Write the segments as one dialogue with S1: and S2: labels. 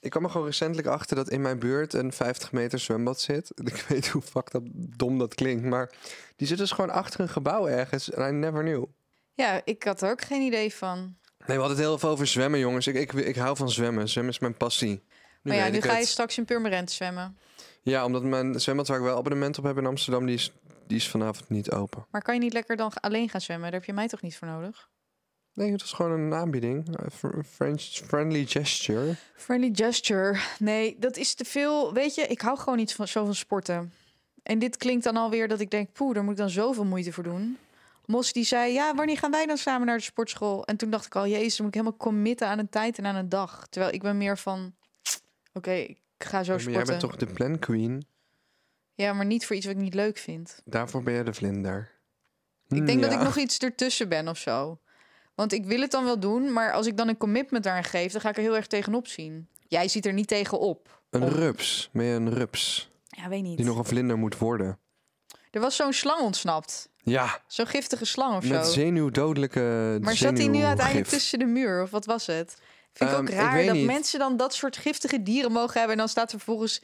S1: Ik kwam er gewoon recentelijk achter dat in mijn buurt een 50 meter zwembad zit. Ik weet hoe fuck dat dom dat klinkt, maar die zit dus gewoon achter een gebouw ergens. En I never knew.
S2: Ja, ik had er ook geen idee van.
S1: Nee, we hadden het heel veel over zwemmen, jongens. Ik, ik, ik hou van zwemmen. Zwemmen is mijn passie. Nu
S2: maar ja,
S1: weet
S2: nu
S1: ik
S2: ga je
S1: het.
S2: straks in Purmerend zwemmen.
S1: Ja, omdat mijn zwembad waar ik wel abonnement op heb in Amsterdam, die is, die is vanavond niet open.
S2: Maar kan je niet lekker dan alleen gaan zwemmen? Daar heb je mij toch niet voor nodig?
S1: Nee, het was gewoon een aanbieding. Een fr- French friendly gesture.
S2: Friendly gesture. Nee, dat is te veel. Weet je, ik hou gewoon niet van, zo van sporten. En dit klinkt dan alweer dat ik denk, poeh, daar moet ik dan zoveel moeite voor doen. Mos die zei, ja, wanneer gaan wij dan samen naar de sportschool? En toen dacht ik al, jezus, dan moet ik helemaal committen aan een tijd en aan een dag. Terwijl ik ben meer van, oké, ik ga zo
S1: maar jij
S2: sporten.
S1: bent toch de plan queen?
S2: Ja, maar niet voor iets wat ik niet leuk vind.
S1: Daarvoor ben je de vlinder.
S2: Ik
S1: Hmm,
S2: denk dat ik nog iets ertussen ben of zo. Want ik wil het dan wel doen, maar als ik dan een commitment daaraan geef, dan ga ik er heel erg tegenop zien. Jij ziet er niet tegenop.
S1: Een rups. Ben je een rups?
S2: Ja, weet niet.
S1: Die nog een vlinder moet worden.
S2: Er was zo'n slang ontsnapt.
S1: Ja,
S2: Zo'n giftige slang of
S1: met
S2: zo.
S1: zenuwdodelijke
S2: Maar zat hij nu
S1: zenuwgif.
S2: uiteindelijk tussen de muur of wat was het? Vind ik
S1: Ehm,
S2: ook
S1: ik
S2: raar
S1: weet
S2: dat
S1: niet.
S2: mensen dan dat soort giftige dieren mogen hebben en dan staat er vervolgens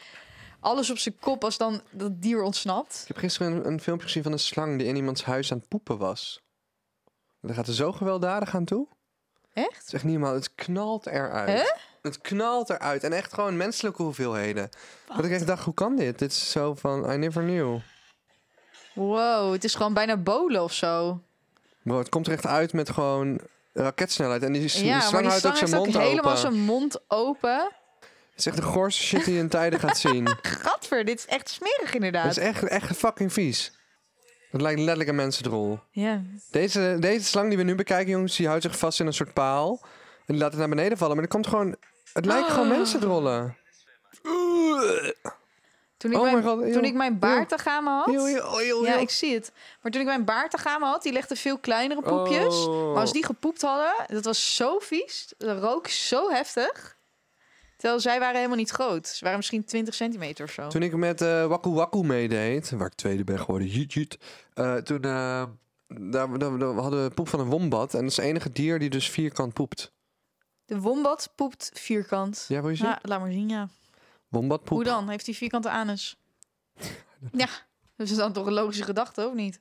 S2: alles op zijn kop als dan dat dier ontsnapt.
S1: Ik heb gisteren een, een filmpje gezien van een slang die in iemands huis aan het poepen was. Daar gaat er zo gewelddadig aan toe. Het
S2: Echt?
S1: is echt niet normaal. Het knalt eruit.
S2: Hè?
S1: Het knalt eruit. En echt gewoon menselijke hoeveelheden. Dat ik echt dacht, hoe kan dit? Dit is zo van, I never knew.
S2: Wow, het is gewoon bijna bolen of zo.
S1: Bro, het komt er echt uit met gewoon raketsnelheid. En die, s- die
S2: Ja, maar
S1: slang
S2: die
S1: houdt ook
S2: slang
S1: zijn
S2: heeft ook
S1: mond
S2: helemaal
S1: open.
S2: zijn mond open.
S1: Het is echt de goorste shit die je in tijden gaat zien.
S2: Gadver, dit is echt smerig
S1: Het
S2: inderdaad.
S1: is echt, echt fucking vies. Dat lijkt letterlijk een mensendrol.
S2: Ja.
S1: Deze, deze slang die we nu bekijken, jongens, die houdt zich vast in een soort paal. En die laat het naar beneden vallen. Maar er komt gewoon... Het lijkt
S2: Ah.
S1: gewoon mensendrollen.
S2: Toen ik,
S1: Oh
S2: mijn,
S1: my God,
S2: toen
S1: eeuw.
S2: ik mijn baard aan gamen had.
S1: Heel, heel, heel,
S2: Ja,
S1: heel.
S2: ik zie het. Maar toen ik mijn baard aan gamen had, die legde veel kleinere poepjes.
S1: Oh.
S2: Maar als die gepoept hadden, dat was zo vies. De rook zo heftig. Terwijl zij waren helemaal niet groot. Ze waren misschien 20 centimeter of zo.
S1: Toen ik met eh Waku Waku meedeed, waar ik tweede ben geworden, jiet, jiet, eh, toen eh, daar, daar, daar hadden we poep van een wombat. En dat is het enige dier die dus vierkant poept.
S2: De wombat poept vierkant.
S1: Ja, wil je zien?
S2: Nou, laat maar zien, ja.
S1: Wombat
S2: Hoe
S1: poep.
S2: dan? Heeft hij vierkante anus? ja, dat is dan toch een logische gedachte, of niet?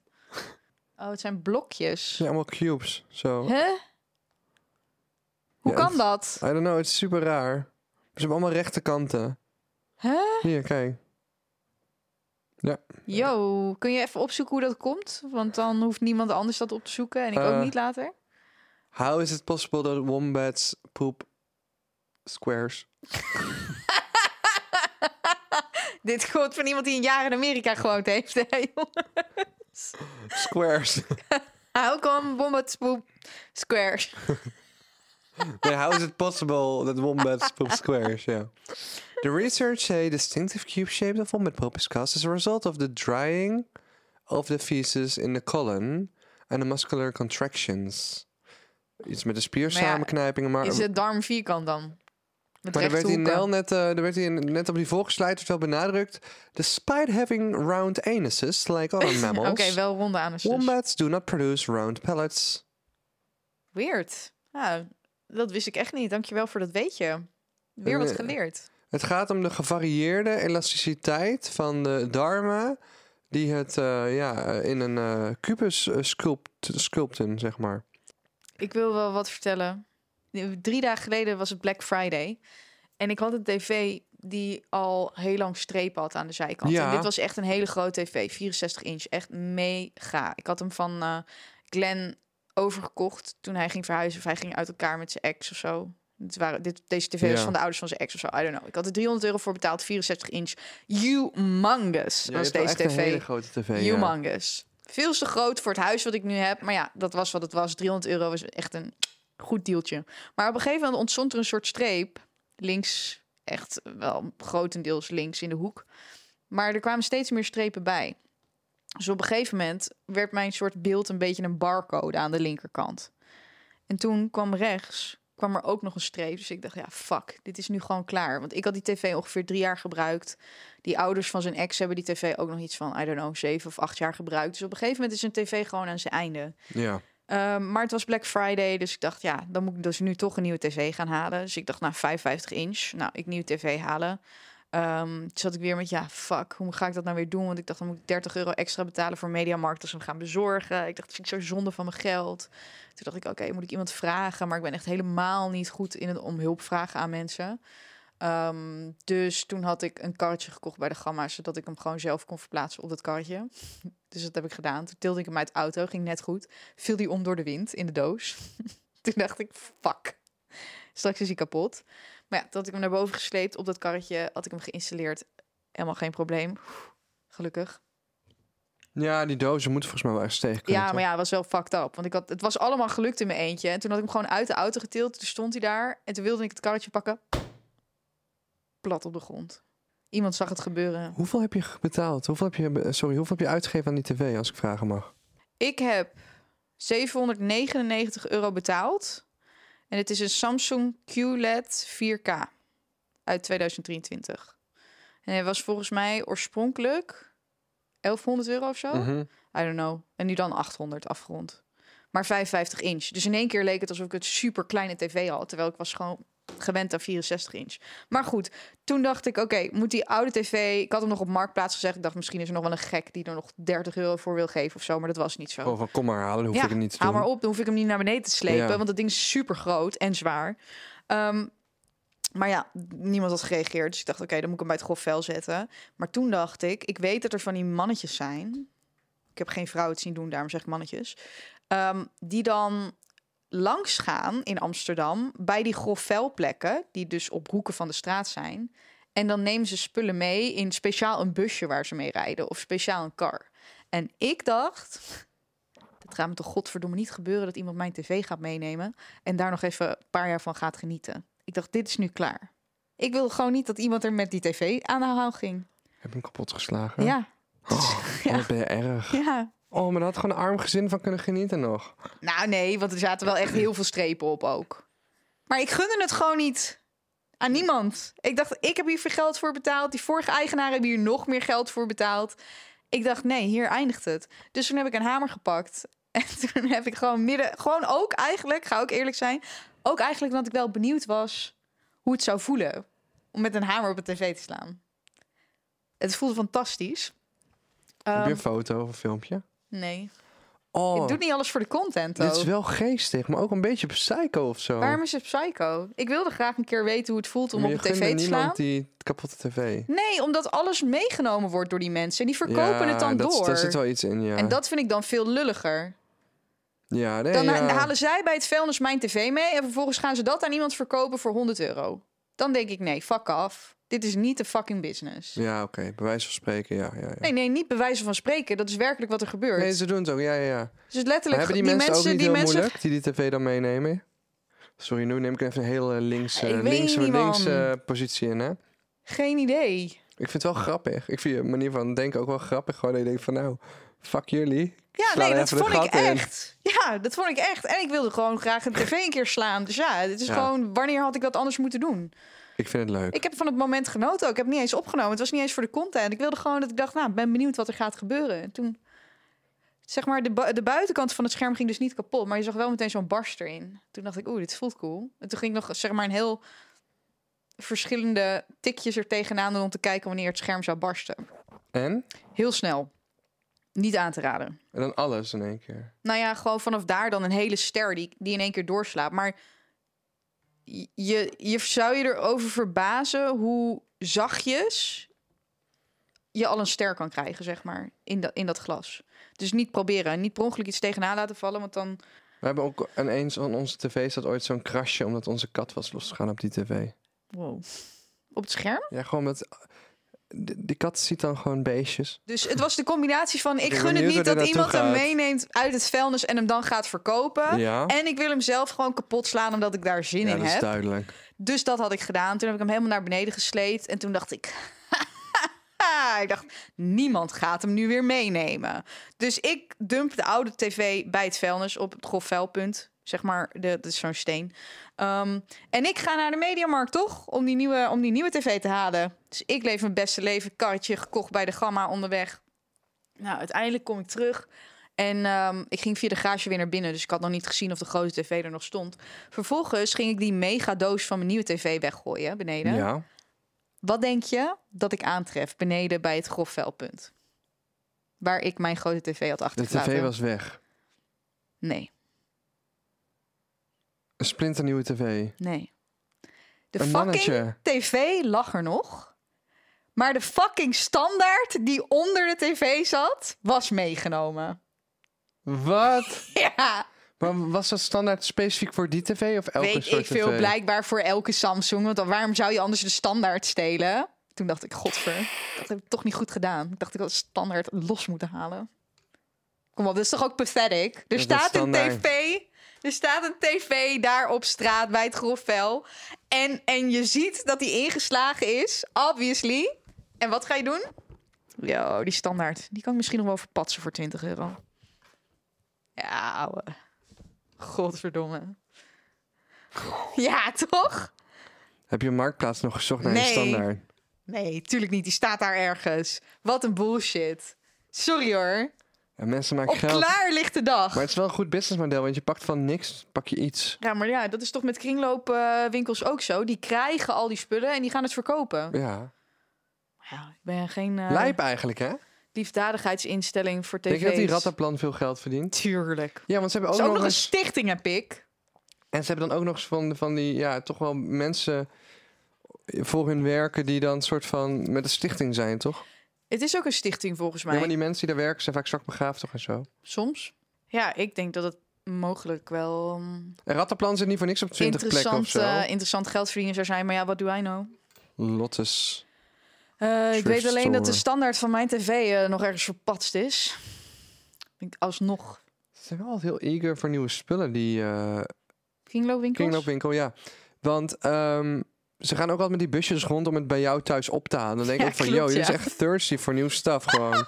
S2: Oh, het zijn blokjes.
S1: Het zijn allemaal cubes. Zo.
S2: Hè? Hoe
S1: Ja,
S2: kan
S1: het-
S2: dat?
S1: I don't know, het is super raar. Maar Ze hebben allemaal rechte kanten.
S2: Hè?
S1: Hier, kijk.
S2: Yo, kun je even opzoeken hoe dat komt? Want dan hoeft niemand anders dat op te zoeken en ik
S1: Eh.
S2: ook niet later.
S1: How is it possible that wombats poop squares?
S2: Dit komt van iemand die een jaar in Amerika gewoond heeft. Hè, jongen?
S1: Squares.
S2: How come Wombat Spoop Squares?
S1: Nee, how is it possible that wombats poop squares? Yeah. The research say distinctive cube shape of wombat poop is caused as a result of the drying of the feces in the colon and the muscular contractions. Iets met de spiersamenknijpingen, maar...
S2: Is het darm vierkant dan? Met
S1: Ah, maar daar werd,
S2: rechte
S1: hij
S2: hoeken.
S1: Nel net, eh, daar werd hij net op die volksleider wel benadrukt. Despite having round anuses, like other mammals,
S2: Oké, wel ronde anus. dus.
S1: wombats do not produce round pellets.
S2: Weird. Ja, dat wist ik echt niet. Dankjewel voor dat weetje. Weer wat
S1: Eh.
S2: geleerd.
S1: Het gaat om de gevarieerde elasticiteit van de darmen. Die het eh, ja, eh, in een eh, kubus eh, sculpt, sculpten, zeg maar.
S2: Ik wil wel wat vertellen. Drie dagen geleden was het Black Friday. En ik had een tv die al heel lang strepen had aan de zijkant.
S1: Ja.
S2: En dit was echt een hele grote tv, 64 inch. Echt mega. Ik had hem van eh Glenn overgekocht toen hij ging verhuizen. Of hij ging uit elkaar met zijn ex of zo. Dit waren, dit, deze tv was
S1: Ja.
S2: van de ouders van zijn ex of zo. I don't know. Ik had er 300 euro voor betaald, 64 inch. Humongous
S1: Ja, je
S2: was
S1: hebt wel
S2: deze
S1: echt
S2: tv.
S1: Een hele grote tv. ja.
S2: Humongous. Veel te groot voor het huis wat ik nu heb. Maar ja, dat was wat het was. 300 euro was echt een goed deeltje. Maar op een gegeven moment ontstond er een soort streep. Links, echt wel grotendeels links in de hoek. Maar er kwamen steeds meer strepen bij. Dus op een gegeven moment werd mijn soort beeld een beetje een barcode aan de linkerkant. En toen kwam rechts, kwam er ook nog een streep. Dus ik dacht, ja, fuck, dit is nu gewoon klaar. Want ik had die tv ongeveer drie jaar gebruikt. Die ouders van zijn ex hebben die tv ook nog iets van, I don't know, zeven of acht jaar gebruikt. Dus op een gegeven moment is een tv gewoon aan zijn einde.
S1: Ja.
S2: Ehm, maar het was Black Friday, dus ik dacht, ja, dan moet ik dus nu toch een nieuwe tv gaan halen. Dus ik dacht, nou, 55 inch, nou, ik nieuwe tv halen. Ehm, toen zat ik weer met, ja, fuck, hoe ga ik dat nou weer doen? Want ik dacht, dan moet ik 30 euro extra betalen voor Mediamarkt als we hem gaan bezorgen. Ik dacht, dat vind ik zo zonde van mijn geld. Toen dacht ik, oké, moet ik iemand vragen? Maar ik ben echt helemaal niet goed in het om hulp vragen aan mensen. Ehm, dus toen had ik een karretje gekocht bij de Gamma, zodat ik hem gewoon zelf kon verplaatsen op dat karretje. Dus dat heb ik gedaan. Toen tilde ik hem uit de auto, ging net goed. Viel die om door de wind in de doos. toen dacht ik, fuck. Straks is hij kapot. Maar ja, toen had ik hem naar boven gesleept op dat karretje. Had ik hem geïnstalleerd. Helemaal geen probleem. Gelukkig.
S1: ja, die dozen moeten volgens mij wel ergens tegen kunnen.
S2: Ja, maar
S1: toch?
S2: ja, het was wel fucked up. Want ik had, het was allemaal gelukt in mijn eentje. En toen had ik hem gewoon uit de auto getild. Toen stond hij daar. En toen wilde ik het karretje pakken. Plat op de grond. Iemand zag het gebeuren.
S1: Hoeveel heb je ge- betaald? Hoeveel heb je, eh, sorry, hoeveel heb je uitgegeven aan die tv, als ik vragen mag?
S2: Ik heb 799 euro betaald. En het is een Samsung E QLED 4K uit 2023. En hij was volgens mij oorspronkelijk 1100 euro of zo.
S1: Mhm.
S2: I don't know. En nu dan 800 afgerond. Maar 55 inch. Dus in één keer leek het alsof ik het super kleine tv had. Terwijl ik was gewoon gewend aan 64 inch. Maar goed, toen dacht ik, oké, moet die oude tv... Ik had hem nog op Marktplaats gezegd. Ik dacht, misschien is er nog wel een gek die er nog 30 euro voor wil geven of zo. Maar dat was niet zo.
S1: Oh, van kom maar halen, dan hoef ik het niet te doen.
S2: Haal maar op, dan hoef ik hem niet naar beneden te slepen.
S1: Ja.
S2: Want dat ding is super groot en zwaar. Ehm, maar ja, niemand had gereageerd. Dus ik dacht, oké, dan moet ik hem bij het grof vuil zetten. Maar toen dacht ik, ik weet dat er van die mannetjes zijn. Ik heb geen vrouw het zien doen, daarom zeg ik mannetjes. Ehm, die dan langs gaan in Amsterdam bij die grof vuilplekken, die dus op hoeken van de straat zijn. En dan nemen ze spullen mee in speciaal een busje waar ze mee rijden of speciaal een car. En ik dacht, dat gaat me toch godverdomme niet gebeuren dat iemand mijn tv gaat meenemen en daar nog even een paar jaar van gaat genieten. Ik dacht, dit is nu klaar. Ik wil gewoon niet dat iemand er met die tv aan de haal ging.
S1: Heb je hem kapot geslagen?
S2: Ja, ja.
S1: Oh, wat ben je erg. Oh, maar daar had gewoon een arm gezin van kunnen genieten nog.
S2: Nou nee, want er zaten wel echt heel veel strepen op ook. Maar ik gunde het gewoon niet aan niemand. Ik dacht, ik heb hier veel geld voor betaald. Die vorige eigenaar hebben hier nog meer geld voor betaald. Ik dacht, nee, hier eindigt het. Dus toen heb ik een hamer gepakt. En toen heb ik gewoon midden... Gewoon ook eigenlijk, ga ook eerlijk zijn... Ook eigenlijk omdat ik wel benieuwd was hoe het zou voelen... om met een hamer op een tv te slaan. Het voelde fantastisch.
S1: heb je
S2: Ehm,
S1: een foto of een filmpje?
S2: nee.
S1: Oh,
S2: Ik doe niet alles voor de content,
S1: dit
S2: ook.
S1: is wel geestig, maar ook een beetje psycho of zo.
S2: Waarom is het psycho? Ik wilde graag een keer weten hoe het voelt om
S1: Oh. Maar
S2: op
S1: je
S2: een tv
S1: gunde
S2: te slaan.
S1: niemand die kapotte tv.
S2: Nee, omdat alles meegenomen wordt door die mensen. En die verkopen
S1: Ja,
S2: het dan
S1: dat,
S2: door.
S1: Daar zit wel iets in, ja.
S2: En dat vind ik dan veel lulliger.
S1: ja, nee,
S2: Dan
S1: ja.
S2: halen zij bij het vuilnis mijn tv mee... en vervolgens gaan ze dat aan iemand verkopen voor 100 euro. Dan denk ik, nee, fuck af. Dit is niet de fucking business.
S1: Ja, oké, bij wijze van spreken, ja. ja, ja.
S2: Nee, nee, niet bewijzen van spreken. Dat is werkelijk wat er gebeurt.
S1: Nee, ze doen het ook, ja, ja, ja.
S2: dus
S1: Maar
S2: letterlijk,
S1: hebben die, mensen, ook niet
S2: die
S1: heel
S2: mensen
S1: moeilijk, die die tv dan meenemen? Sorry, nu neem ik even een hele links,
S2: Ik
S1: eh,
S2: weet
S1: links,
S2: niet, man.
S1: links eh, positie in, hè?
S2: Geen idee.
S1: Ik vind het wel grappig. Ik vind je manier van denken ook wel grappig. Gewoon dat je denkt van, nou, fuck jullie.
S2: Ja,
S1: Sla
S2: nee,
S1: er
S2: dat
S1: even de
S2: vond ik
S1: gat in.
S2: echt. Ja, dat vond ik echt. En ik wilde gewoon graag een tv een keer slaan. Dus ja, het is
S1: Ja.
S2: gewoon, wanneer had ik dat anders moeten doen?
S1: Ik vind het leuk.
S2: Ik heb van het moment genoten ook. Ik heb het niet eens opgenomen. Het was niet eens voor de content. Ik wilde gewoon dat ik dacht, nou, ik ben benieuwd wat er gaat gebeuren. En toen, zeg maar, de, bu- de buitenkant van het scherm ging dus niet kapot. Maar je zag wel meteen zo'n barst erin. Toen dacht ik, oeh, dit voelt cool. En toen ging ik nog, zeg maar, een heel verschillende tikjes er tegenaan doen om te kijken wanneer het scherm zou barsten.
S1: En?
S2: Heel snel. Niet aan te raden.
S1: En dan alles in één keer.
S2: Nou ja, gewoon vanaf daar dan een hele ster die, die in één keer doorslaat. Maar je, je zou je erover verbazen hoe zachtjes je al een ster kan krijgen, zeg maar, in, dat in dat glas. Dus niet proberen, niet per ongeluk iets tegenaan laten vallen, want dan...
S1: We hebben ook ineens aan onze tv zat ooit zo'n krasje... omdat onze kat was losgegaan op die tv.
S2: Wow. Op het scherm?
S1: Ja, gewoon met... d- die kat ziet dan gewoon beestjes.
S2: Dus het was de combinatie van ik
S1: ben
S2: gun het
S1: benieuwd
S2: niet
S1: waar
S2: dat
S1: dit
S2: iemand
S1: naartoe
S2: hem
S1: gaat.
S2: meeneemt uit het vuilnis en hem dan gaat verkopen.
S1: Ja,
S2: En ik wil hem zelf gewoon kapot slaan omdat ik daar zin
S1: ja
S2: in
S1: dat is
S2: heb.
S1: duidelijk.
S2: Dus dat had ik gedaan. Toen heb ik hem helemaal naar beneden gesleept. En toen dacht ik... ik dacht, niemand gaat hem nu weer meenemen. Dus ik dump de oude tv bij het vuilnis op het grof vuilpunt. Zeg maar, de- dat is zo'n steen. Ehm, en ik ga naar de mediamarkt, toch? Om die, nieuwe, om die nieuwe tv te halen. Dus ik leef mijn beste leven. Karretje gekocht bij de Gamma onderweg. Nou, uiteindelijk kom ik terug. En ehm, ik ging via de garage weer naar binnen. Dus ik had nog niet gezien of de grote tv er nog stond. Vervolgens ging ik die mega doos van mijn nieuwe tv weggooien beneden.
S1: Ja.
S2: Wat denk je dat ik aantref beneden bij het grofvelpunt? Waar ik mijn grote tv had
S1: De
S2: achtergelaten.
S1: tv was weg.
S2: Nee,
S1: Een splinternieuwe tv.
S2: nee. De
S1: een
S2: fucking
S1: mannetje.
S2: tv lag er nog. Maar de fucking standaard die onder de tv zat, was meegenomen.
S1: Wat?
S2: Ja,
S1: Maar was dat standaard specifiek voor die tv of elke
S2: weet
S1: soort
S2: ik veel.
S1: tv?
S2: Blijkbaar voor elke Samsung. Want dan, waarom zou je anders de standaard stelen? Toen dacht ik, godver, dat heb ik toch niet goed gedaan. Ik dacht ik had de standaard los moeten halen. Kom op, dat is toch ook pathetic? Er
S1: is
S2: staat een
S1: standaard.
S2: tv. Er staat een tv daar op straat bij het grofvel. En, en je ziet dat die ingeslagen is, obviously. En wat ga je doen? Yo, die standaard. Die kan ik misschien nog wel verpatsen voor 20 euro. Ja, ouwe. Godverdomme. Ja, toch?
S1: Heb je een marktplaats nog gezocht naar
S2: Nee.
S1: een standaard?
S2: Nee, tuurlijk niet. Die staat daar ergens. Wat een bullshit. Sorry hoor.
S1: En mensen maken
S2: Op
S1: geld.
S2: klaarlichte dag.
S1: Maar het is wel een goed businessmodel, want je pakt van niks, pak je iets.
S2: Ja, maar ja, dat is toch met kringloopwinkels ook zo. Die krijgen al die spullen en die gaan het verkopen.
S1: Ja.
S2: Ja, ik ben geen eh,
S1: Lijp eigenlijk, hè?
S2: liefdadigheidsinstelling voor tv's.
S1: Denk je dat die rattenplan veel geld verdient?
S2: Tuurlijk.
S1: Ja, want ze hebben
S2: Is
S1: ook, nog, eens...
S2: stichting, heb ik.
S1: En ze hebben dan ook nog eens van, van die, ja, toch wel mensen voor hun werken die dan soort van met een stichting zijn, toch?
S2: Het is ook een stichting volgens mij.
S1: Ja, maar die mensen die daar werken zijn vaak zwakbegaafd toch en zo.
S2: Soms. Ja, ik denk dat het mogelijk wel mm,
S1: En rattenplan zit niet voor niks op 20 plekken of
S2: interessant,
S1: zo.
S2: eh, interessant geld verdienen zou zijn. Maar ja, wat doe nou? I know?
S1: Lottes.
S2: Eh, ik
S1: Thrift
S2: weet alleen dat de
S1: store.
S2: standaard van mijn tv eh, nog ergens verpatst is. Ik- Alsnog.
S1: Ze zijn wel altijd heel eager voor nieuwe spullen, die eh,
S2: Kringloopwinkels?
S1: Kringloopwinkel, ja. Want ehm, ze gaan ook altijd met die busjes rond om het bij jou thuis op te halen. Dan denk ik
S2: Ja,
S1: ook van,
S2: klopt,
S1: yo, je
S2: ja.
S1: is echt thirsty voor nieuw stuff gewoon.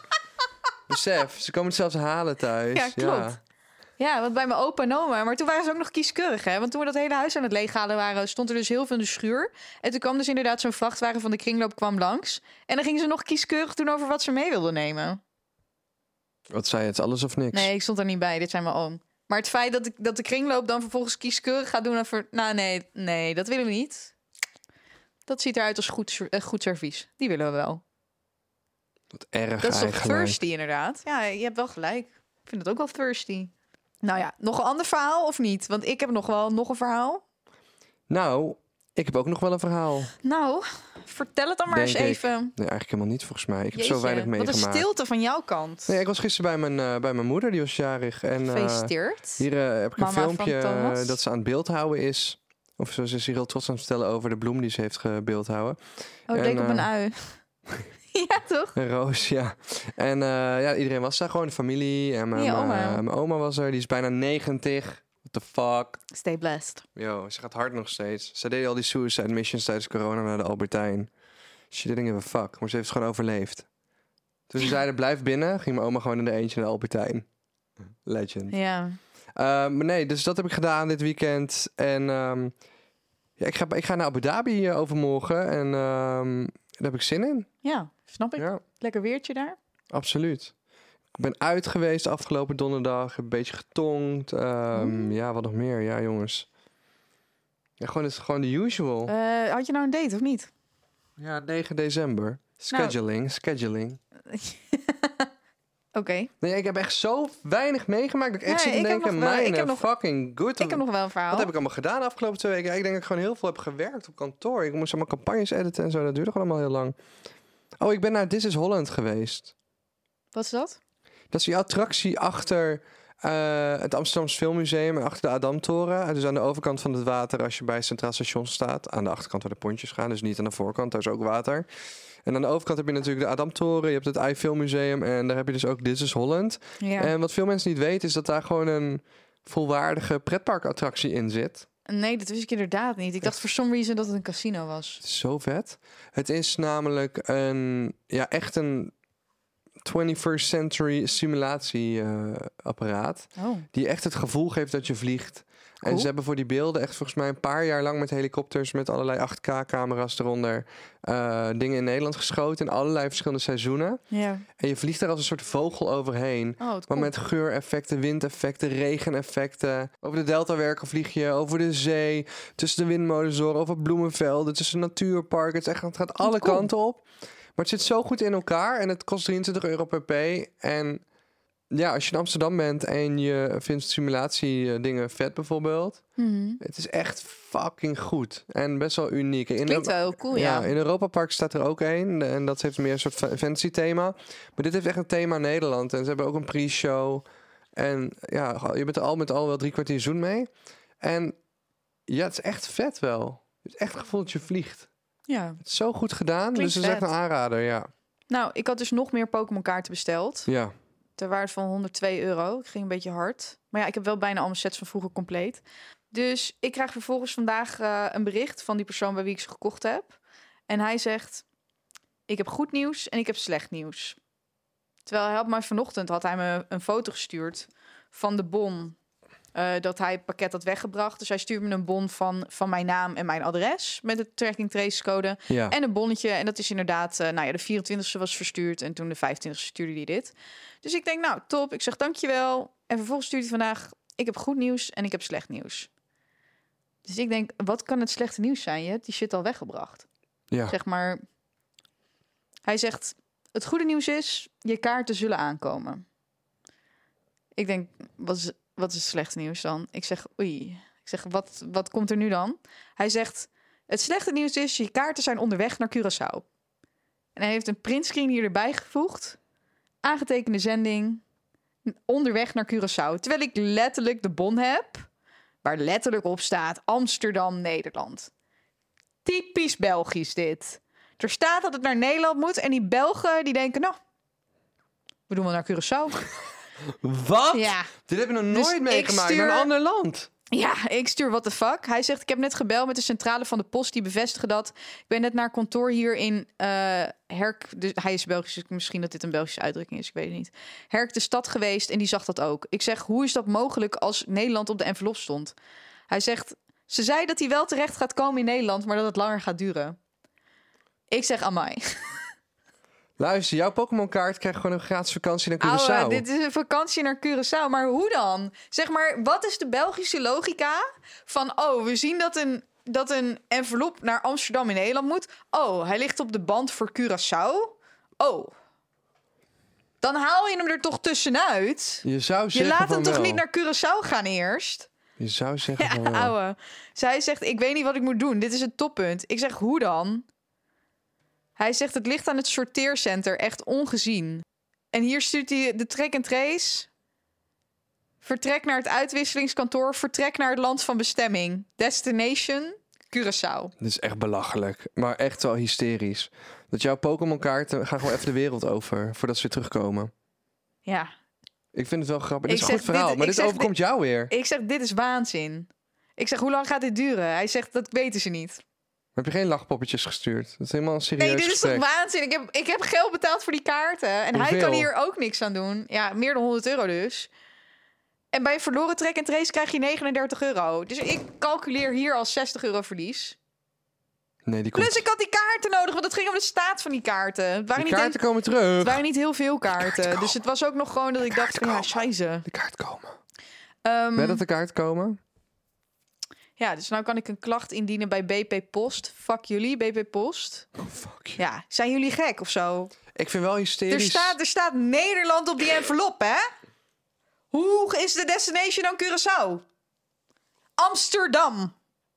S1: Besef, ze komen het zelfs halen thuis.
S2: Ja, klopt. Ja, want bij mijn opa en oma. Maar toen waren ze ook nog kieskeurig, hè. Want toen we dat hele huis aan het leeghalen waren, stond er dus heel veel in de schuur. En toen kwam dus inderdaad zo'n vrachtwagen van de kringloop kwam langs. En dan gingen ze nog kieskeurig doen over wat ze mee wilden nemen.
S1: Wat zei je, het is alles of niks?
S2: Nee, ik stond er niet bij. Dit zijn mijn oom. Maar het feit dat, ik, dat de kringloop dan vervolgens kieskeurig gaat doen... Over, nou, nee, nee, dat willen we niet. Dat ziet eruit als goed, ser- eh, goed servies. Die willen we wel.
S1: Wat erg
S2: Dat is toch
S1: eigenlijk.
S2: thirsty, inderdaad? Ja, je hebt wel gelijk. Ik vind het ook wel thirsty. Nou ja, nog een ander verhaal of niet? Want ik heb nog wel nog een verhaal.
S1: Nou, ik heb ook nog wel een verhaal.
S2: Nou, vertel het dan maar
S1: Denk
S2: eens
S1: ik.
S2: even.
S1: Nee, eigenlijk helemaal niet volgens mij. Ik heb zo
S2: Jeetje,
S1: weinig meegemaakt.
S2: Wat een stilte van jouw kant.
S1: Nee, ik was gisteren bij mijn, eh, bij mijn moeder, die was jarig. En eh,
S2: Gefeliciteerd.
S1: hier eh, heb ik
S2: Mama
S1: een
S2: van
S1: filmpje eh,
S2: Thomas.
S1: dat ze aan het beeld houden is. Of zo, ze is hier heel trots aan het vertellen over de bloem die ze heeft gebeeld houden.
S2: oh, het
S1: en,
S2: leek op een
S1: eh,
S2: ui. ja, toch?
S1: Een roos, ja. En eh, ja, iedereen was daar gewoon, de familie. En mijn,
S2: Ja,
S1: mijn-
S2: oma.
S1: mijn oma was er, die is bijna 90. What the fuck?
S2: Stay blessed.
S1: Yo, ze gaat hard nog steeds. Ze deed al die suicide missions tijdens corona naar de Albertijn. She didn't give a fuck, maar ze heeft het gewoon overleefd. Toen ze zeiden blijf binnen, ging mijn oma gewoon in de eentje naar de Albertijn. Legend.
S2: Ja.
S1: Eh, maar nee, dus dat heb ik gedaan dit weekend. En ehm, ja, ik, ga, ik ga naar Abu Dhabi eh, overmorgen. En ehm, daar heb ik zin in.
S2: ja, snap ik.
S1: Ja.
S2: Lekker weertje daar.
S1: Absoluut. Ik ben uit geweest afgelopen donderdag. Een beetje getongd. ehm, Ja, wat nog meer? Ja, jongens. Ja, gewoon, het is gewoon de usual.
S2: Eh, had je nou een date of niet?
S1: ja, 9
S2: Nou.
S1: december. Scheduling, scheduling.
S2: Oké.
S1: Nee, ik heb echt zo weinig meegemaakt dat ik echt zit
S2: Nee,
S1: te
S2: ik heb
S1: denken...
S2: nog wel- ik
S1: mijn
S2: heb nog-
S1: fucking good.
S2: Ik heb nog wel een verhaal.
S1: Wat heb ik allemaal gedaan de afgelopen twee weken? Ja, ik denk dat ik gewoon heel veel heb gewerkt op kantoor. Ik moest allemaal campagnes editen en zo. Dat duurde gewoon allemaal heel lang. Oh, ik ben naar This is Holland geweest.
S2: Wat is dat?
S1: Dat is die attractie achter eh, het Amsterdamse Filmmuseum en achter de Adamtoren. Eh, Dus aan de overkant van het water als je bij het Centraal Station staat. Aan de achterkant waar de pontjes gaan, dus niet aan de voorkant. Daar is ook water. En aan de overkant heb je natuurlijk de Adamtoren. Je hebt het AI Filmmuseum en daar heb je dus ook This is Holland.
S2: Ja.
S1: En wat veel mensen niet weten is dat daar gewoon een volwaardige pretparkattractie in zit.
S2: nee, dat wist ik inderdaad niet. Ik dacht
S1: Eh.
S2: voor some reason dat het een casino was.
S1: Het is zo vet. Het is namelijk een, ja, echt een 21st century simulatieapparaat.
S2: Oh.
S1: die echt het gevoel geeft dat je vliegt. En
S2: Cool.
S1: ze hebben voor die beelden echt volgens mij een paar jaar lang met helikopters, met allerlei 8K-camera's eronder, eh, dingen in Nederland geschoten in allerlei verschillende seizoenen.
S2: Ja.
S1: En je vliegt daar als een soort vogel overheen.
S2: Oh, wat
S1: Maar
S2: cool.
S1: met geureffecten, windeffecten, regeneffecten. Over de deltawerken vlieg je, over de zee, tussen de windmolens door, over bloemenvelden, tussen natuurparken. Het, is echt, het gaat alle
S2: cool.
S1: kanten op. Maar het zit zo goed in elkaar en het kost 23 euro per p. En ja, als je in Amsterdam bent en je vindt simulatie eh, dingen vet bijvoorbeeld.
S2: Mhm.
S1: Het is echt fucking goed en best wel uniek. In
S2: Klinkt
S1: Europa-
S2: wel heel cool,
S1: ja,
S2: Oh, ja.
S1: in Europa Park staat er ook één. eh, En dat heeft meer een soort fa- fantasy thema. Maar dit heeft echt een thema Nederland. En ze hebben ook een pre-show. En ja, je bent er al met al wel drie kwartier zoen mee. En ja, het is echt vet wel. Het is echt het gevoel dat je vliegt.
S2: ja.
S1: Het is zo goed gedaan.
S2: Klinkt
S1: dus het is echt
S2: vet.
S1: een aanrader, ja.
S2: Nou, ik had dus nog meer Pokémon kaarten besteld.
S1: Ja,
S2: Ter waarde van 102 euro. Ik ging een beetje hard. Maar ja, ik heb wel bijna al mijn sets van vroeger compleet. Dus ik krijg vervolgens vandaag eh, een bericht van die persoon bij wie ik ze gekocht heb. En hij zegt, ik heb goed nieuws en ik heb slecht nieuws. Terwijl hij had mij vanochtend had hij me een foto gestuurd van de bon. eh, dat hij het pakket had weggebracht. Dus hij stuurde me een bon van, van mijn naam en mijn adres. Met de tracking trace code.
S1: ja.
S2: En een bonnetje. En dat is inderdaad, eh, nou ja, de 24e was verstuurd. En toen de 25e stuurde hij dit. Dus ik denk, nou, top. Ik zeg dankjewel. En vervolgens stuurt hij vandaag, ik heb goed nieuws en ik heb slecht nieuws. Dus ik denk, wat kan het slechte nieuws zijn? Je hebt die shit al weggebracht.
S1: ja.
S2: Zeg maar, hij zegt, het goede nieuws is, je kaarten zullen aankomen. Ik denk, wat is, wat is het slechte nieuws dan? Ik zeg, oei. Ik zeg, wat, wat komt er nu dan? Hij zegt, het slechte nieuws is, je kaarten zijn onderweg naar Curaçao. En hij heeft een printscreen hier erbij gevoegd. Aangetekende zending, onderweg naar Curaçao. Terwijl ik letterlijk de bon heb, waar letterlijk op staat Amsterdam, Nederland. Typisch Belgisch dit. Er staat dat het naar Nederland moet en die Belgen die denken, nou, we doen wel naar Curaçao.
S1: Wat?
S2: Ja.
S1: Dit heb ik nog
S2: Dus
S1: nooit
S2: ik
S1: meegemaakt in
S2: stuur-
S1: een ander land.
S2: Ja, ik stuur what the fuck. Hij zegt, ik heb net gebeld met de centrale van de post. Die bevestigen dat. Ik ben net naar kantoor hier in eh, Herk. Dus hij is Belgisch, dus misschien dat dit een Belgische uitdrukking is. Ik weet het niet. Herk de stad geweest en die zag dat ook. Ik zeg, hoe is dat mogelijk als Nederland op de envelop stond? Hij zegt, ze zei dat hij wel terecht gaat komen in Nederland, maar dat het langer gaat duren. Ik zeg, amai.
S1: Luister, jouw Pokémon-kaart krijgt gewoon een gratis vakantie naar Curaçao.
S2: Ouwe, Oh, dit is een vakantie naar Curaçao. Maar hoe dan? Zeg maar, wat is de Belgische logica van... oh, we zien dat een, dat een envelop naar Amsterdam in Nederland moet. Oh, hij ligt op de band voor Curaçao. Oh. Dan haal je hem er toch tussenuit?
S1: Je zou
S2: Je
S1: zeggen
S2: laat hem
S1: van
S2: toch
S1: wel.
S2: niet naar Curaçao gaan eerst?
S1: Je zou zeggen
S2: Ja, oh,
S1: van wel.
S2: ouwe. Zij zegt, ik weet niet wat ik moet doen. Dit is het toppunt. Ik zeg, hoe dan? Hij zegt, het ligt aan het sorteercenter. Echt ongezien. En hier stuurt hij de track and trace. Vertrek naar het uitwisselingskantoor. Vertrek naar het land van bestemming. Destination, Curaçao.
S1: Dit is echt belachelijk, maar echt wel hysterisch. Dat jouw Pokémon-kaarten gaan gewoon even de wereld over voordat ze weer terugkomen.
S2: Ja.
S1: Ik vind het wel grappig.
S2: Ik
S1: dit is een
S2: zeg
S1: goed verhaal,
S2: dit-
S1: maar
S2: ik
S1: dit
S2: zeg
S1: overkomt jou weer.
S2: Ik zeg, dit is waanzin. Ik zeg, hoe lang gaat dit duren? Hij zegt, dat weten ze niet.
S1: Maar heb je geen lachpoppetjes gestuurd? Dat is helemaal een serieus
S2: Nee, dit is toch
S1: gesprek.
S2: waanzin? Ik heb, ik heb geld betaald voor die kaarten. En hij
S1: Hoeveel?
S2: kan hier ook niks aan doen. Ja, meer dan 100 euro dus. En bij een verloren trek en trace krijg je 39 euro. Dus ik calculeer hier al 60 euro verlies.
S1: nee, die, komt...
S2: Plus ik had die kaarten nodig, want het ging om de staat van die kaarten. Het waren,
S1: die
S2: niet,
S1: kaarten
S2: een-
S1: komen
S2: het
S1: terug.
S2: waren niet heel veel kaarten. Dus het was ook nog gewoon dat ik dacht van ja, scheiße.
S1: De kaart komen.
S2: Ehm,
S1: Weet dat de kaart komen?
S2: ja, dus nou kan ik een klacht indienen bij BP Post. Fuck jullie, BP Post.
S1: Oh, fuck you.
S2: Ja, zijn jullie gek of zo?
S1: Ik vind wel hysterisch.
S2: Er staat, er staat Nederland op die envelop, hè? Hoe is de destination dan Curaçao? Amsterdam.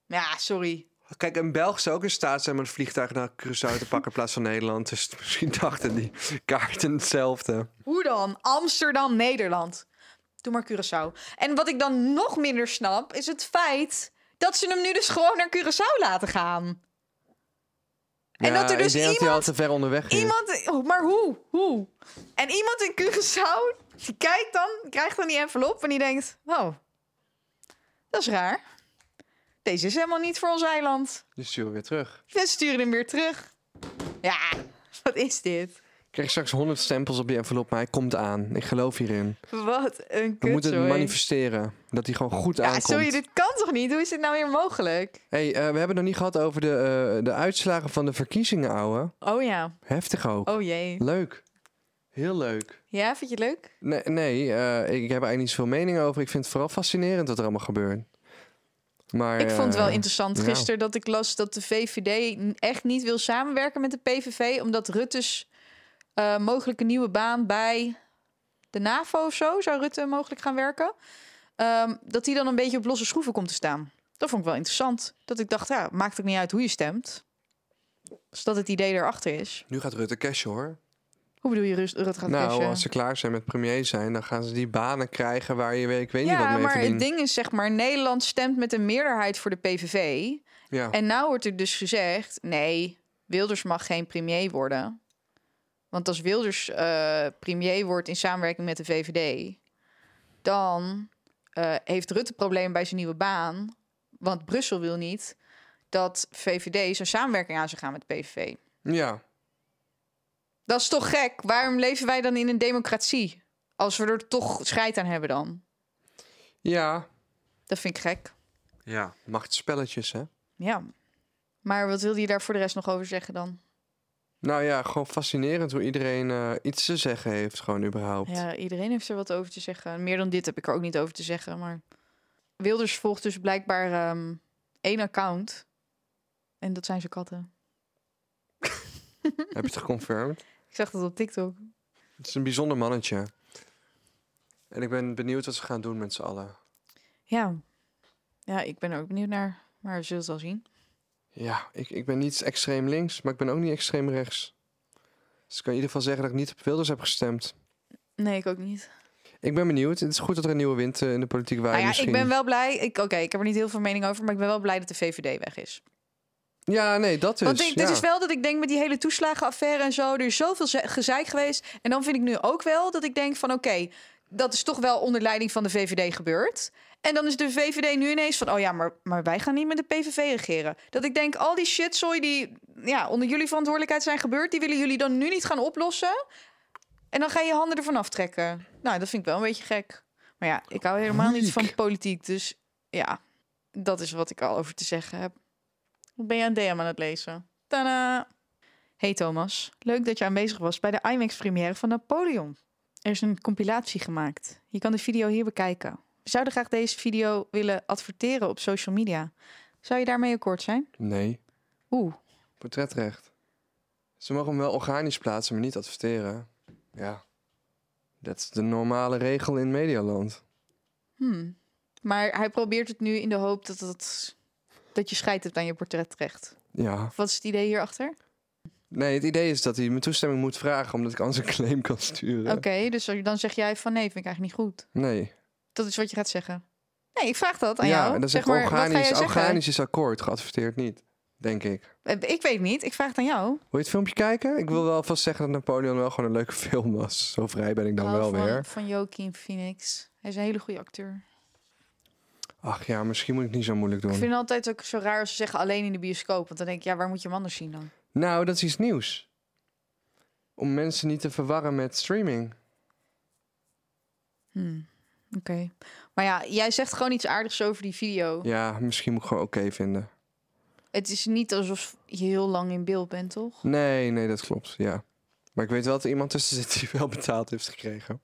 S2: Ja, sorry.
S1: Kijk, een Belg zou ook in staat zijn om een vliegtuig naar Curaçao te pakken in plaats van Nederland. Dus misschien dachten die kaarten hetzelfde.
S2: Hoe dan? Amsterdam, Nederland. Doe maar Curaçao. En wat ik dan nog minder snap, is het feit dat ze hem nu dus gewoon naar Curaçao laten gaan. En dat er
S1: ik
S2: dus
S1: denk dat hij al
S2: iemand-
S1: te ver onderweg is.
S2: Iemand, oh, maar hoe? Hoe? En iemand in Curaçao, die kijkt dan, krijgt dan die envelop en die denkt, oh, dat is raar. Deze is helemaal niet voor ons eiland.
S1: Dus sturen we weer terug.
S2: We sturen hem weer terug. Ja, wat is dit?
S1: Ik krijg straks 100 stempels op die envelop, maar hij komt aan. Ik geloof hierin.
S2: Wat een
S1: We moeten het
S2: kutzooi.
S1: manifesteren. Dat hij gewoon goed
S2: Ja,
S1: aankomt.
S2: sorry, dit kan toch niet? Hoe is dit nou weer mogelijk?
S1: hey, eh, we hebben het nog niet gehad over de, eh, de uitslagen van de verkiezingen, ouwe.
S2: Oh ja,
S1: Heftig ook.
S2: oh jee.
S1: Leuk. Heel leuk.
S2: Ja, vind je het leuk?
S1: Nee, nee eh, ik heb er eigenlijk niet zoveel mening over. Ik vind het vooral fascinerend wat er allemaal gebeurt. Maar,
S2: Ik vond het wel
S1: eh,
S2: interessant
S1: ja.
S2: gisteren dat ik las dat de VVD n- echt niet wil samenwerken met de PVV, omdat Rutte's eh, mogelijke nieuwe baan bij de NAVO of zo, zou Rutte mogelijk gaan werken, ehm, dat die dan een beetje op losse schroeven komt te staan. Dat vond ik wel interessant. Dat ik dacht, ja, maakt ook niet uit hoe je stemt. Als dat het idee erachter is.
S1: Nu gaat Rutte cashen hoor.
S2: Hoe bedoel je, Rust- Rutte gaat
S1: nou,
S2: cashen?
S1: als ze klaar zijn met premier zijn, dan gaan ze die banen krijgen waar je weet, ik weet niet wat
S2: Ja,
S1: mee
S2: maar
S1: verdient.
S2: het ding is zeg maar, Nederland stemt met een meerderheid voor de PVV.
S1: Ja.
S2: En nou wordt er dus gezegd: nee, Wilders mag geen premier worden. Want als Wilders eh, premier wordt in samenwerking met de VVD, dan eh, heeft Rutte problemen bij zijn nieuwe baan. Want Brussel wil niet dat VVD zijn samenwerking aan zou gaan met de PVV.
S1: ja.
S2: Dat is toch gek? Waarom leven wij dan in een democratie? Als we er toch scheid aan hebben dan.
S1: Ja.
S2: Dat vind ik gek.
S1: Ja. Machtspelletjes, hè?
S2: Ja. Maar wat wilde je daar voor de rest nog over zeggen dan?
S1: Nou ja, gewoon fascinerend hoe iedereen eh, iets te zeggen heeft, gewoon überhaupt.
S2: Ja, iedereen heeft er wat over te zeggen. Meer dan dit heb ik er ook niet over te zeggen. Maar Wilders volgt dus blijkbaar ehm, één account. En dat zijn zijn katten.
S1: Heb je het geconfirmed?
S2: Ik zag dat op TikTok.
S1: Het is een bijzonder mannetje. En ik ben benieuwd wat ze gaan doen met z'n allen.
S2: Ja. Ja, ik ben er ook benieuwd naar. Maar we zullen het wel zien.
S1: Ja, ik, ik ben niet extreem links, maar ik ben ook niet extreem rechts. Dus ik kan in ieder geval zeggen dat ik niet op Wilders heb gestemd.
S2: Nee, ik ook niet.
S1: Ik ben benieuwd. Het is goed dat er een nieuwe wind eh, in de politiek waait
S2: Nou ja,
S1: misschien.
S2: ik ben wel blij. Ik, Oké, ik heb er niet heel veel mening over. Maar ik ben wel blij dat de VVD weg is.
S1: Ja, nee, dat is.
S2: Want ik, dit
S1: ja.
S2: is wel dat ik denk met die hele toeslagenaffaire en zo. Er is zoveel ze- gezeik geweest. En dan vind ik nu ook wel dat ik denk van oké, dat is toch wel onder leiding van de VVD gebeurd. En dan is de VVD nu ineens van oh ja, maar, maar wij gaan niet met de PVV regeren. Dat ik denk al die shitzooi die ja, onder jullie verantwoordelijkheid zijn gebeurd, die willen jullie dan nu niet gaan oplossen. En dan ga je je handen ervan aftrekken. Nou, dat vind ik wel een beetje gek. Maar ja, ik hou helemaal niet van
S1: Riek.
S2: politiek. Dus ja, dat is wat ik al over te zeggen heb. Wat Ben je een DM aan het lezen? Tada! Hey Thomas, leuk dat je aanwezig was bij de IMAX-première van Napoleon. Er is een compilatie gemaakt. Je kan de video hier bekijken. We zouden graag deze video willen adverteren op social media. Zou je daarmee akkoord zijn?
S1: Nee,
S2: Oeh,
S1: portretrecht. Ze mogen hem wel organisch plaatsen, maar niet adverteren. Ja, dat is de normale regel in Medialand.
S2: hmm. Maar hij probeert het nu in de hoop dat, het, dat je scheid hebt aan je portretrecht.
S1: Ja.
S2: Wat is het idee hierachter?
S1: Nee, het idee is dat hij mijn toestemming moet vragen, omdat ik anders een claim kan sturen.
S2: Oké, dus dan zeg jij van nee, vind ik eigenlijk niet goed.
S1: Nee.
S2: Dat is wat je gaat zeggen. Nee, ik vraag dat aan
S1: ja,
S2: jou.
S1: en dat is
S2: zeg
S1: echt
S2: maar, wat ga
S1: organisch.
S2: jij zeggen?
S1: Organisch is akkoord, geadverteerd niet, denk ik.
S2: Eh, Ik weet niet, ik vraag het aan jou.
S1: Wil je het filmpje kijken? Ik wil wel vast zeggen dat Napoleon wel gewoon een leuke film was. Zo vrij ben ik dan wel
S2: van,
S1: weer.
S2: Van Joaquin Phoenix. Hij is een hele goede acteur.
S1: Ach ja, misschien moet ik het niet zo moeilijk
S2: Ik
S1: doen.
S2: vind het altijd ook zo raar als ze zeggen alleen in de bioscoop. Want dan denk ik, ja, waar moet je hem anders zien dan?
S1: Nou, dat is iets nieuws. Om mensen niet te verwarren met streaming.
S2: Hmm, Oké. Maar ja, jij zegt gewoon iets aardigs over die video.
S1: Ja, misschien moet ik gewoon oké vinden.
S2: Het is niet alsof je heel lang in beeld bent, toch?
S1: Nee, nee, dat klopt, ja. Maar ik weet wel dat er iemand tussen zit die wel betaald heeft gekregen.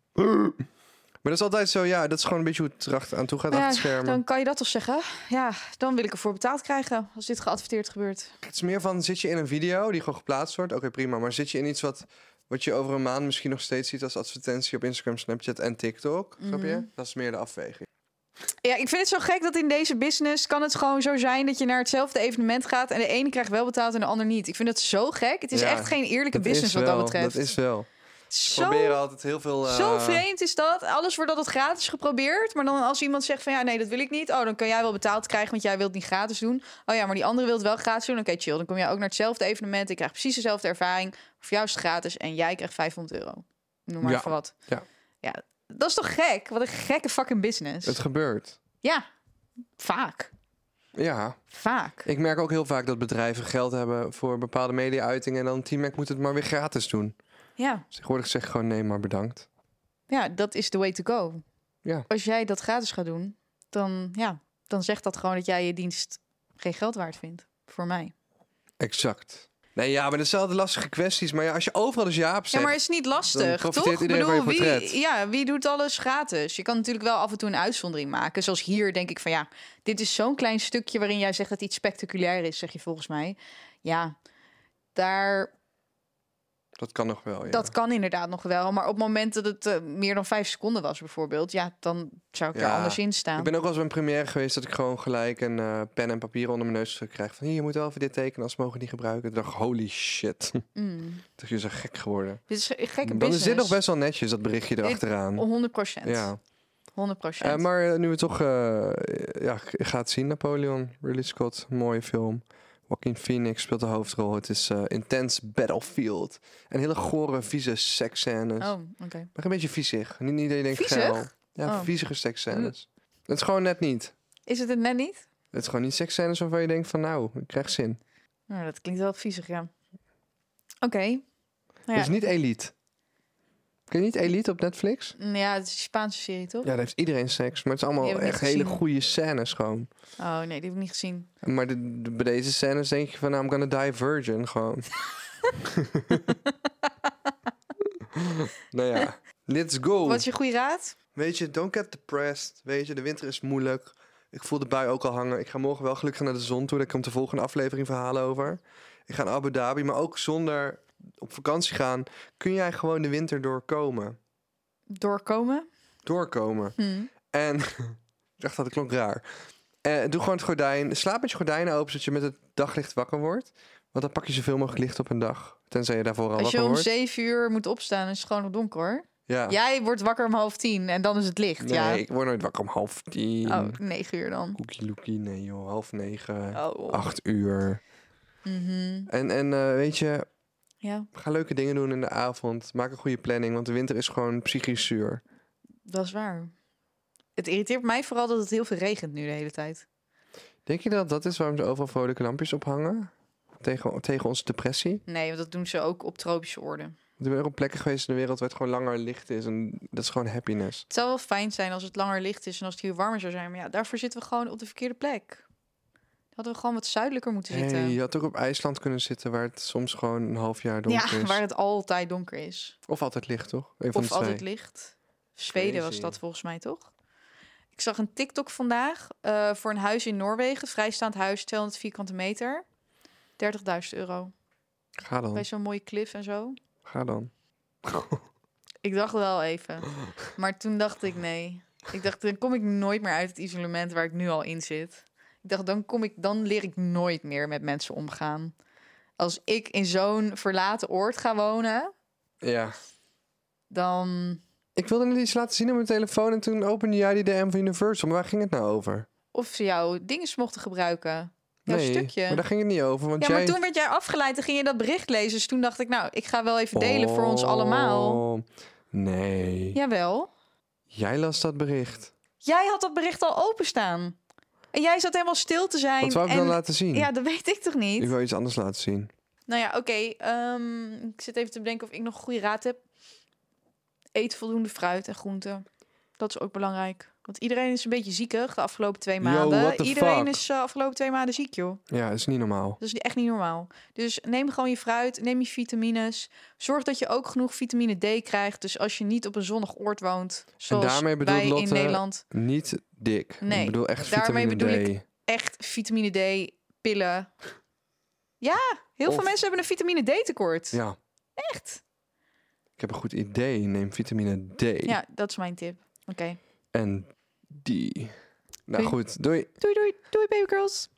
S1: Maar dat is altijd zo, ja, dat is gewoon een beetje hoe het er achter- aan toe gaat
S2: Ja,
S1: achter het scherm.
S2: Dan kan je dat toch zeggen? Ja, dan wil ik ervoor betaald krijgen als dit geadverteerd gebeurt.
S1: Het is meer van, zit je in een video die gewoon geplaatst wordt? Oké, prima. Maar zit je in iets wat, wat je over een maand misschien nog steeds ziet als advertentie op Instagram, Snapchat en TikTok? Snap je?
S2: Mhm.
S1: Dat is meer de afweging.
S2: Ja, ik vind het zo gek dat in deze business kan het gewoon zo zijn dat je naar hetzelfde evenement gaat en de ene krijgt wel betaald en de ander niet. Ik vind dat zo gek. Het is
S1: Ja,
S2: echt geen eerlijke
S1: Dat
S2: business
S1: is
S2: wat
S1: wel-
S2: dat betreft.
S1: Dat is wel.
S2: Zo,
S1: proberen altijd heel veel... eh,
S2: zo vreemd is dat. Alles wordt altijd gratis geprobeerd. Maar dan als iemand zegt van ja, nee, dat wil ik niet. Oh, dan kan jij wel betaald krijgen, want jij wilt het niet gratis doen. Oh ja, maar die andere wil het wel gratis doen. Oké, chill. Dan kom jij ook naar hetzelfde evenement. Ik krijg precies dezelfde ervaring. Of juist gratis. En jij krijgt 500 euro. Noem maar
S1: Ja,
S2: voor wat.
S1: ja.
S2: ja. Dat is toch gek? Wat een gekke fucking business.
S1: Het gebeurt.
S2: Ja, vaak.
S1: Ja,
S2: Vaak.
S1: ik merk ook heel vaak dat bedrijven geld hebben voor bepaalde media-uitingen... en dan Team Mac moet het maar weer gratis doen.
S2: Ja.
S1: Dus tegenwoordig zeg ik gewoon nee, maar bedankt.
S2: ja, dat is the way to go.
S1: Ja.
S2: Als jij dat gratis gaat doen, dan, ja, dan zegt dat gewoon dat jij je dienst geen geld waard vindt. Voor mij.
S1: Exact. Nee, ja, maar dat zijn altijd lastige kwesties. Maar ja, als je overal dus ja op
S2: Ja,
S1: zegt...
S2: maar het is niet
S1: dan
S2: lastig,
S1: profiteert
S2: toch? Ik
S1: iedereen van je portret.
S2: wie, ja, wie doet alles gratis? Je kan natuurlijk wel af en toe een uitzondering maken. Zoals hier denk ik van ja, dit is zo'n klein stukje waarin jij zegt dat iets spectaculair is, zeg je volgens mij. Ja, daar
S1: Dat kan nog wel, ja.
S2: Dat kan inderdaad nog wel. Maar op het moment dat het eh, meer dan vijf seconden was, bijvoorbeeld, ja, dan zou ik daar
S1: Ja,
S2: anders in staan.
S1: Ik ben ook wel eens bij een première geweest dat ik gewoon gelijk een eh, pen en papier onder mijn neus krijg. Van hier, je moet wel even dit tekenen, als mogen we het niet gebruiken. Toen dacht ik, holy shit.
S2: Mm.
S1: Toen is er gek geworden.
S2: Dit is een gekke
S1: Dan
S2: business.
S1: is dit nog best wel netjes, dat berichtje
S2: Dit-
S1: erachteraan.
S2: 100 procent.
S1: Ja.
S2: 100
S1: Eh, maar eh, nu we toch eh, ja, g- gaat zien, Napoleon, Ridley Scott, mooie film. Joaquin Phoenix speelt de hoofdrol. Het is eh intens battlefield. En hele gore, vieze seksscènes.
S2: Oh, oké.
S1: Maar een beetje viezig. Niet iedereen denkt
S2: Viezig?
S1: geil. Ja,
S2: Oh. Hm.
S1: viezige seksscènes. Het is gewoon net niet.
S2: Is het het net niet?
S1: Het is gewoon niet seksscènes waarvan je denkt van nou, ik krijg zin.
S2: Nou, dat klinkt wel viezig, ja. Oké. Nou
S1: Het is
S2: ja.
S1: niet Elite. Ken je niet Elite op Netflix?
S2: Mm, ja, het is een Spaanse serie, toch?
S1: Ja, daar heeft iedereen seks. Maar het is
S2: Die
S1: allemaal
S2: heb ik niet
S1: echt hele
S2: gezien.
S1: goede scènes gewoon.
S2: Oh nee, die heb ik niet gezien.
S1: Maar de, de- bij deze scènes denk je van, nou, I'm gonna die virgin, gewoon. nou ja, let's go.
S2: Wat is je goede raad?
S1: Weet je, don't get depressed. Weet je, de winter is moeilijk. Ik voel de bui ook al hangen. Ik ga morgen wel gelukkig naar de zon toe. Daar komt de volgende aflevering verhalen over. Ik ga naar Abu Dhabi, maar ook zonder op vakantie gaan... kun jij gewoon de winter doorkomen.
S2: Doorkomen?
S1: Doorkomen.
S2: Hm.
S1: En ik dacht dat het klonk raar. Eh, doe gewoon het gordijn. Slaap met je gordijnen open, zodat je met het daglicht wakker wordt. Want dan pak je zoveel mogelijk licht op een dag. Tenzij je daarvoor al
S2: Als je
S1: wakker
S2: om
S1: wordt.
S2: zeven uur moet opstaan, is het gewoon nog donker hoor.
S1: Ja.
S2: Jij wordt wakker om half tien en dan is het licht.
S1: nee,
S2: ja.
S1: ik word nooit wakker om half tien.
S2: Oh, negen uur dan.
S1: Koekie loekie, nee joh, half negen,
S2: Oh.
S1: acht uur.
S2: Mhm.
S1: En, en eh, weet je,
S2: Ja,
S1: ga leuke dingen doen in de avond. Maak een goede planning, want de winter is gewoon psychisch zuur.
S2: dat is waar. Het irriteert mij vooral dat het heel veel regent nu de hele tijd.
S1: Denk je dat dat is waarom ze overal vrolijke lampjes ophangen? Tegen, tegen onze depressie?
S2: Nee, want dat doen ze ook op tropische orde.
S1: Ik ben ook op plekken geweest in de wereld waar het gewoon langer licht is. En dat is gewoon happiness.
S2: Het zou wel fijn zijn als het langer licht is en als het hier warmer zou zijn. Maar ja, daarvoor zitten we gewoon op de verkeerde plek. Dan hadden we gewoon wat zuidelijker moeten zitten.
S1: Hey, je had ook op IJsland kunnen zitten waar het soms gewoon een half jaar donker
S2: ja,
S1: is.
S2: waar het altijd donker is.
S1: Of altijd licht, toch? Een van
S2: Of
S1: de twee.
S2: altijd licht. Zweden was
S1: Crazy.
S2: dat volgens mij toch? Ik zag een TikTok vandaag eh, voor een huis in Noorwegen. Vrijstaand huis, 200 vierkante meter. 30.000 euro.
S1: Oh. Ga dan,
S2: Bij zo'n mooie cliff en zo.
S1: ga dan.
S2: Ik dacht wel even. Maar toen dacht ik nee. Ik dacht, dan kom ik nooit meer uit het isolement waar ik nu al in zit. Ik dacht, dan, kom ik, dan leer ik nooit meer met mensen omgaan. Als ik in zo'n verlaten oord ga wonen,
S1: Ja.
S2: dan...
S1: Ik wilde net iets laten zien op mijn telefoon en toen opende jij die DM van Universal. Maar waar ging het nou over?
S2: Of ze jouw dingen mochten gebruiken. Jouw
S1: nee,
S2: stukje.
S1: maar daar ging het niet over. Want
S2: Ja, maar
S1: jij...
S2: toen werd jij afgeleid en ging je dat bericht lezen. Dus toen dacht ik, nou, ik ga wel even delen voor ons allemaal.
S1: Oh, Nee.
S2: Jawel.
S1: Jij las dat bericht.
S2: Jij had dat bericht al openstaan. En jij zat helemaal stil te zijn.
S1: Wat zou ik
S2: en...
S1: dan laten zien?
S2: Ja, dat weet ik toch niet?
S1: Ik wil iets anders laten zien.
S2: Nou ja, oké. ehm, ik zit even te bedenken of ik nog een goede raad heb. Eet voldoende fruit en groenten. Dat is ook belangrijk. Want iedereen is een beetje ziekig de afgelopen twee
S1: Yo,
S2: maanden.
S1: what the
S2: iedereen
S1: fuck?
S2: is de afgelopen twee maanden ziek, joh.
S1: Ja, dat is niet normaal.
S2: Dat is echt niet normaal. Dus neem gewoon je fruit, neem je vitamines. Zorg dat je ook genoeg vitamine D krijgt. Dus als je niet op een zonnig oord woont, zoals
S1: daarmee bedoelt
S2: wij in
S1: Lotte-
S2: Nederland,
S1: Niet dik.
S2: Nee,
S1: ik bedoel echt
S2: daarmee
S1: vitamine
S2: bedoel
S1: D.
S2: ik echt vitamine D pillen. Ja, heel
S1: Of-
S2: veel mensen hebben een vitamine D tekort.
S1: Ja.
S2: Echt?
S1: Ik heb een goed idee. Neem vitamine D.
S2: Ja, dat is mijn tip. Oké.
S1: En die. Nou
S2: Doei.
S1: goed, doei.
S2: Doei doei, doei baby girls.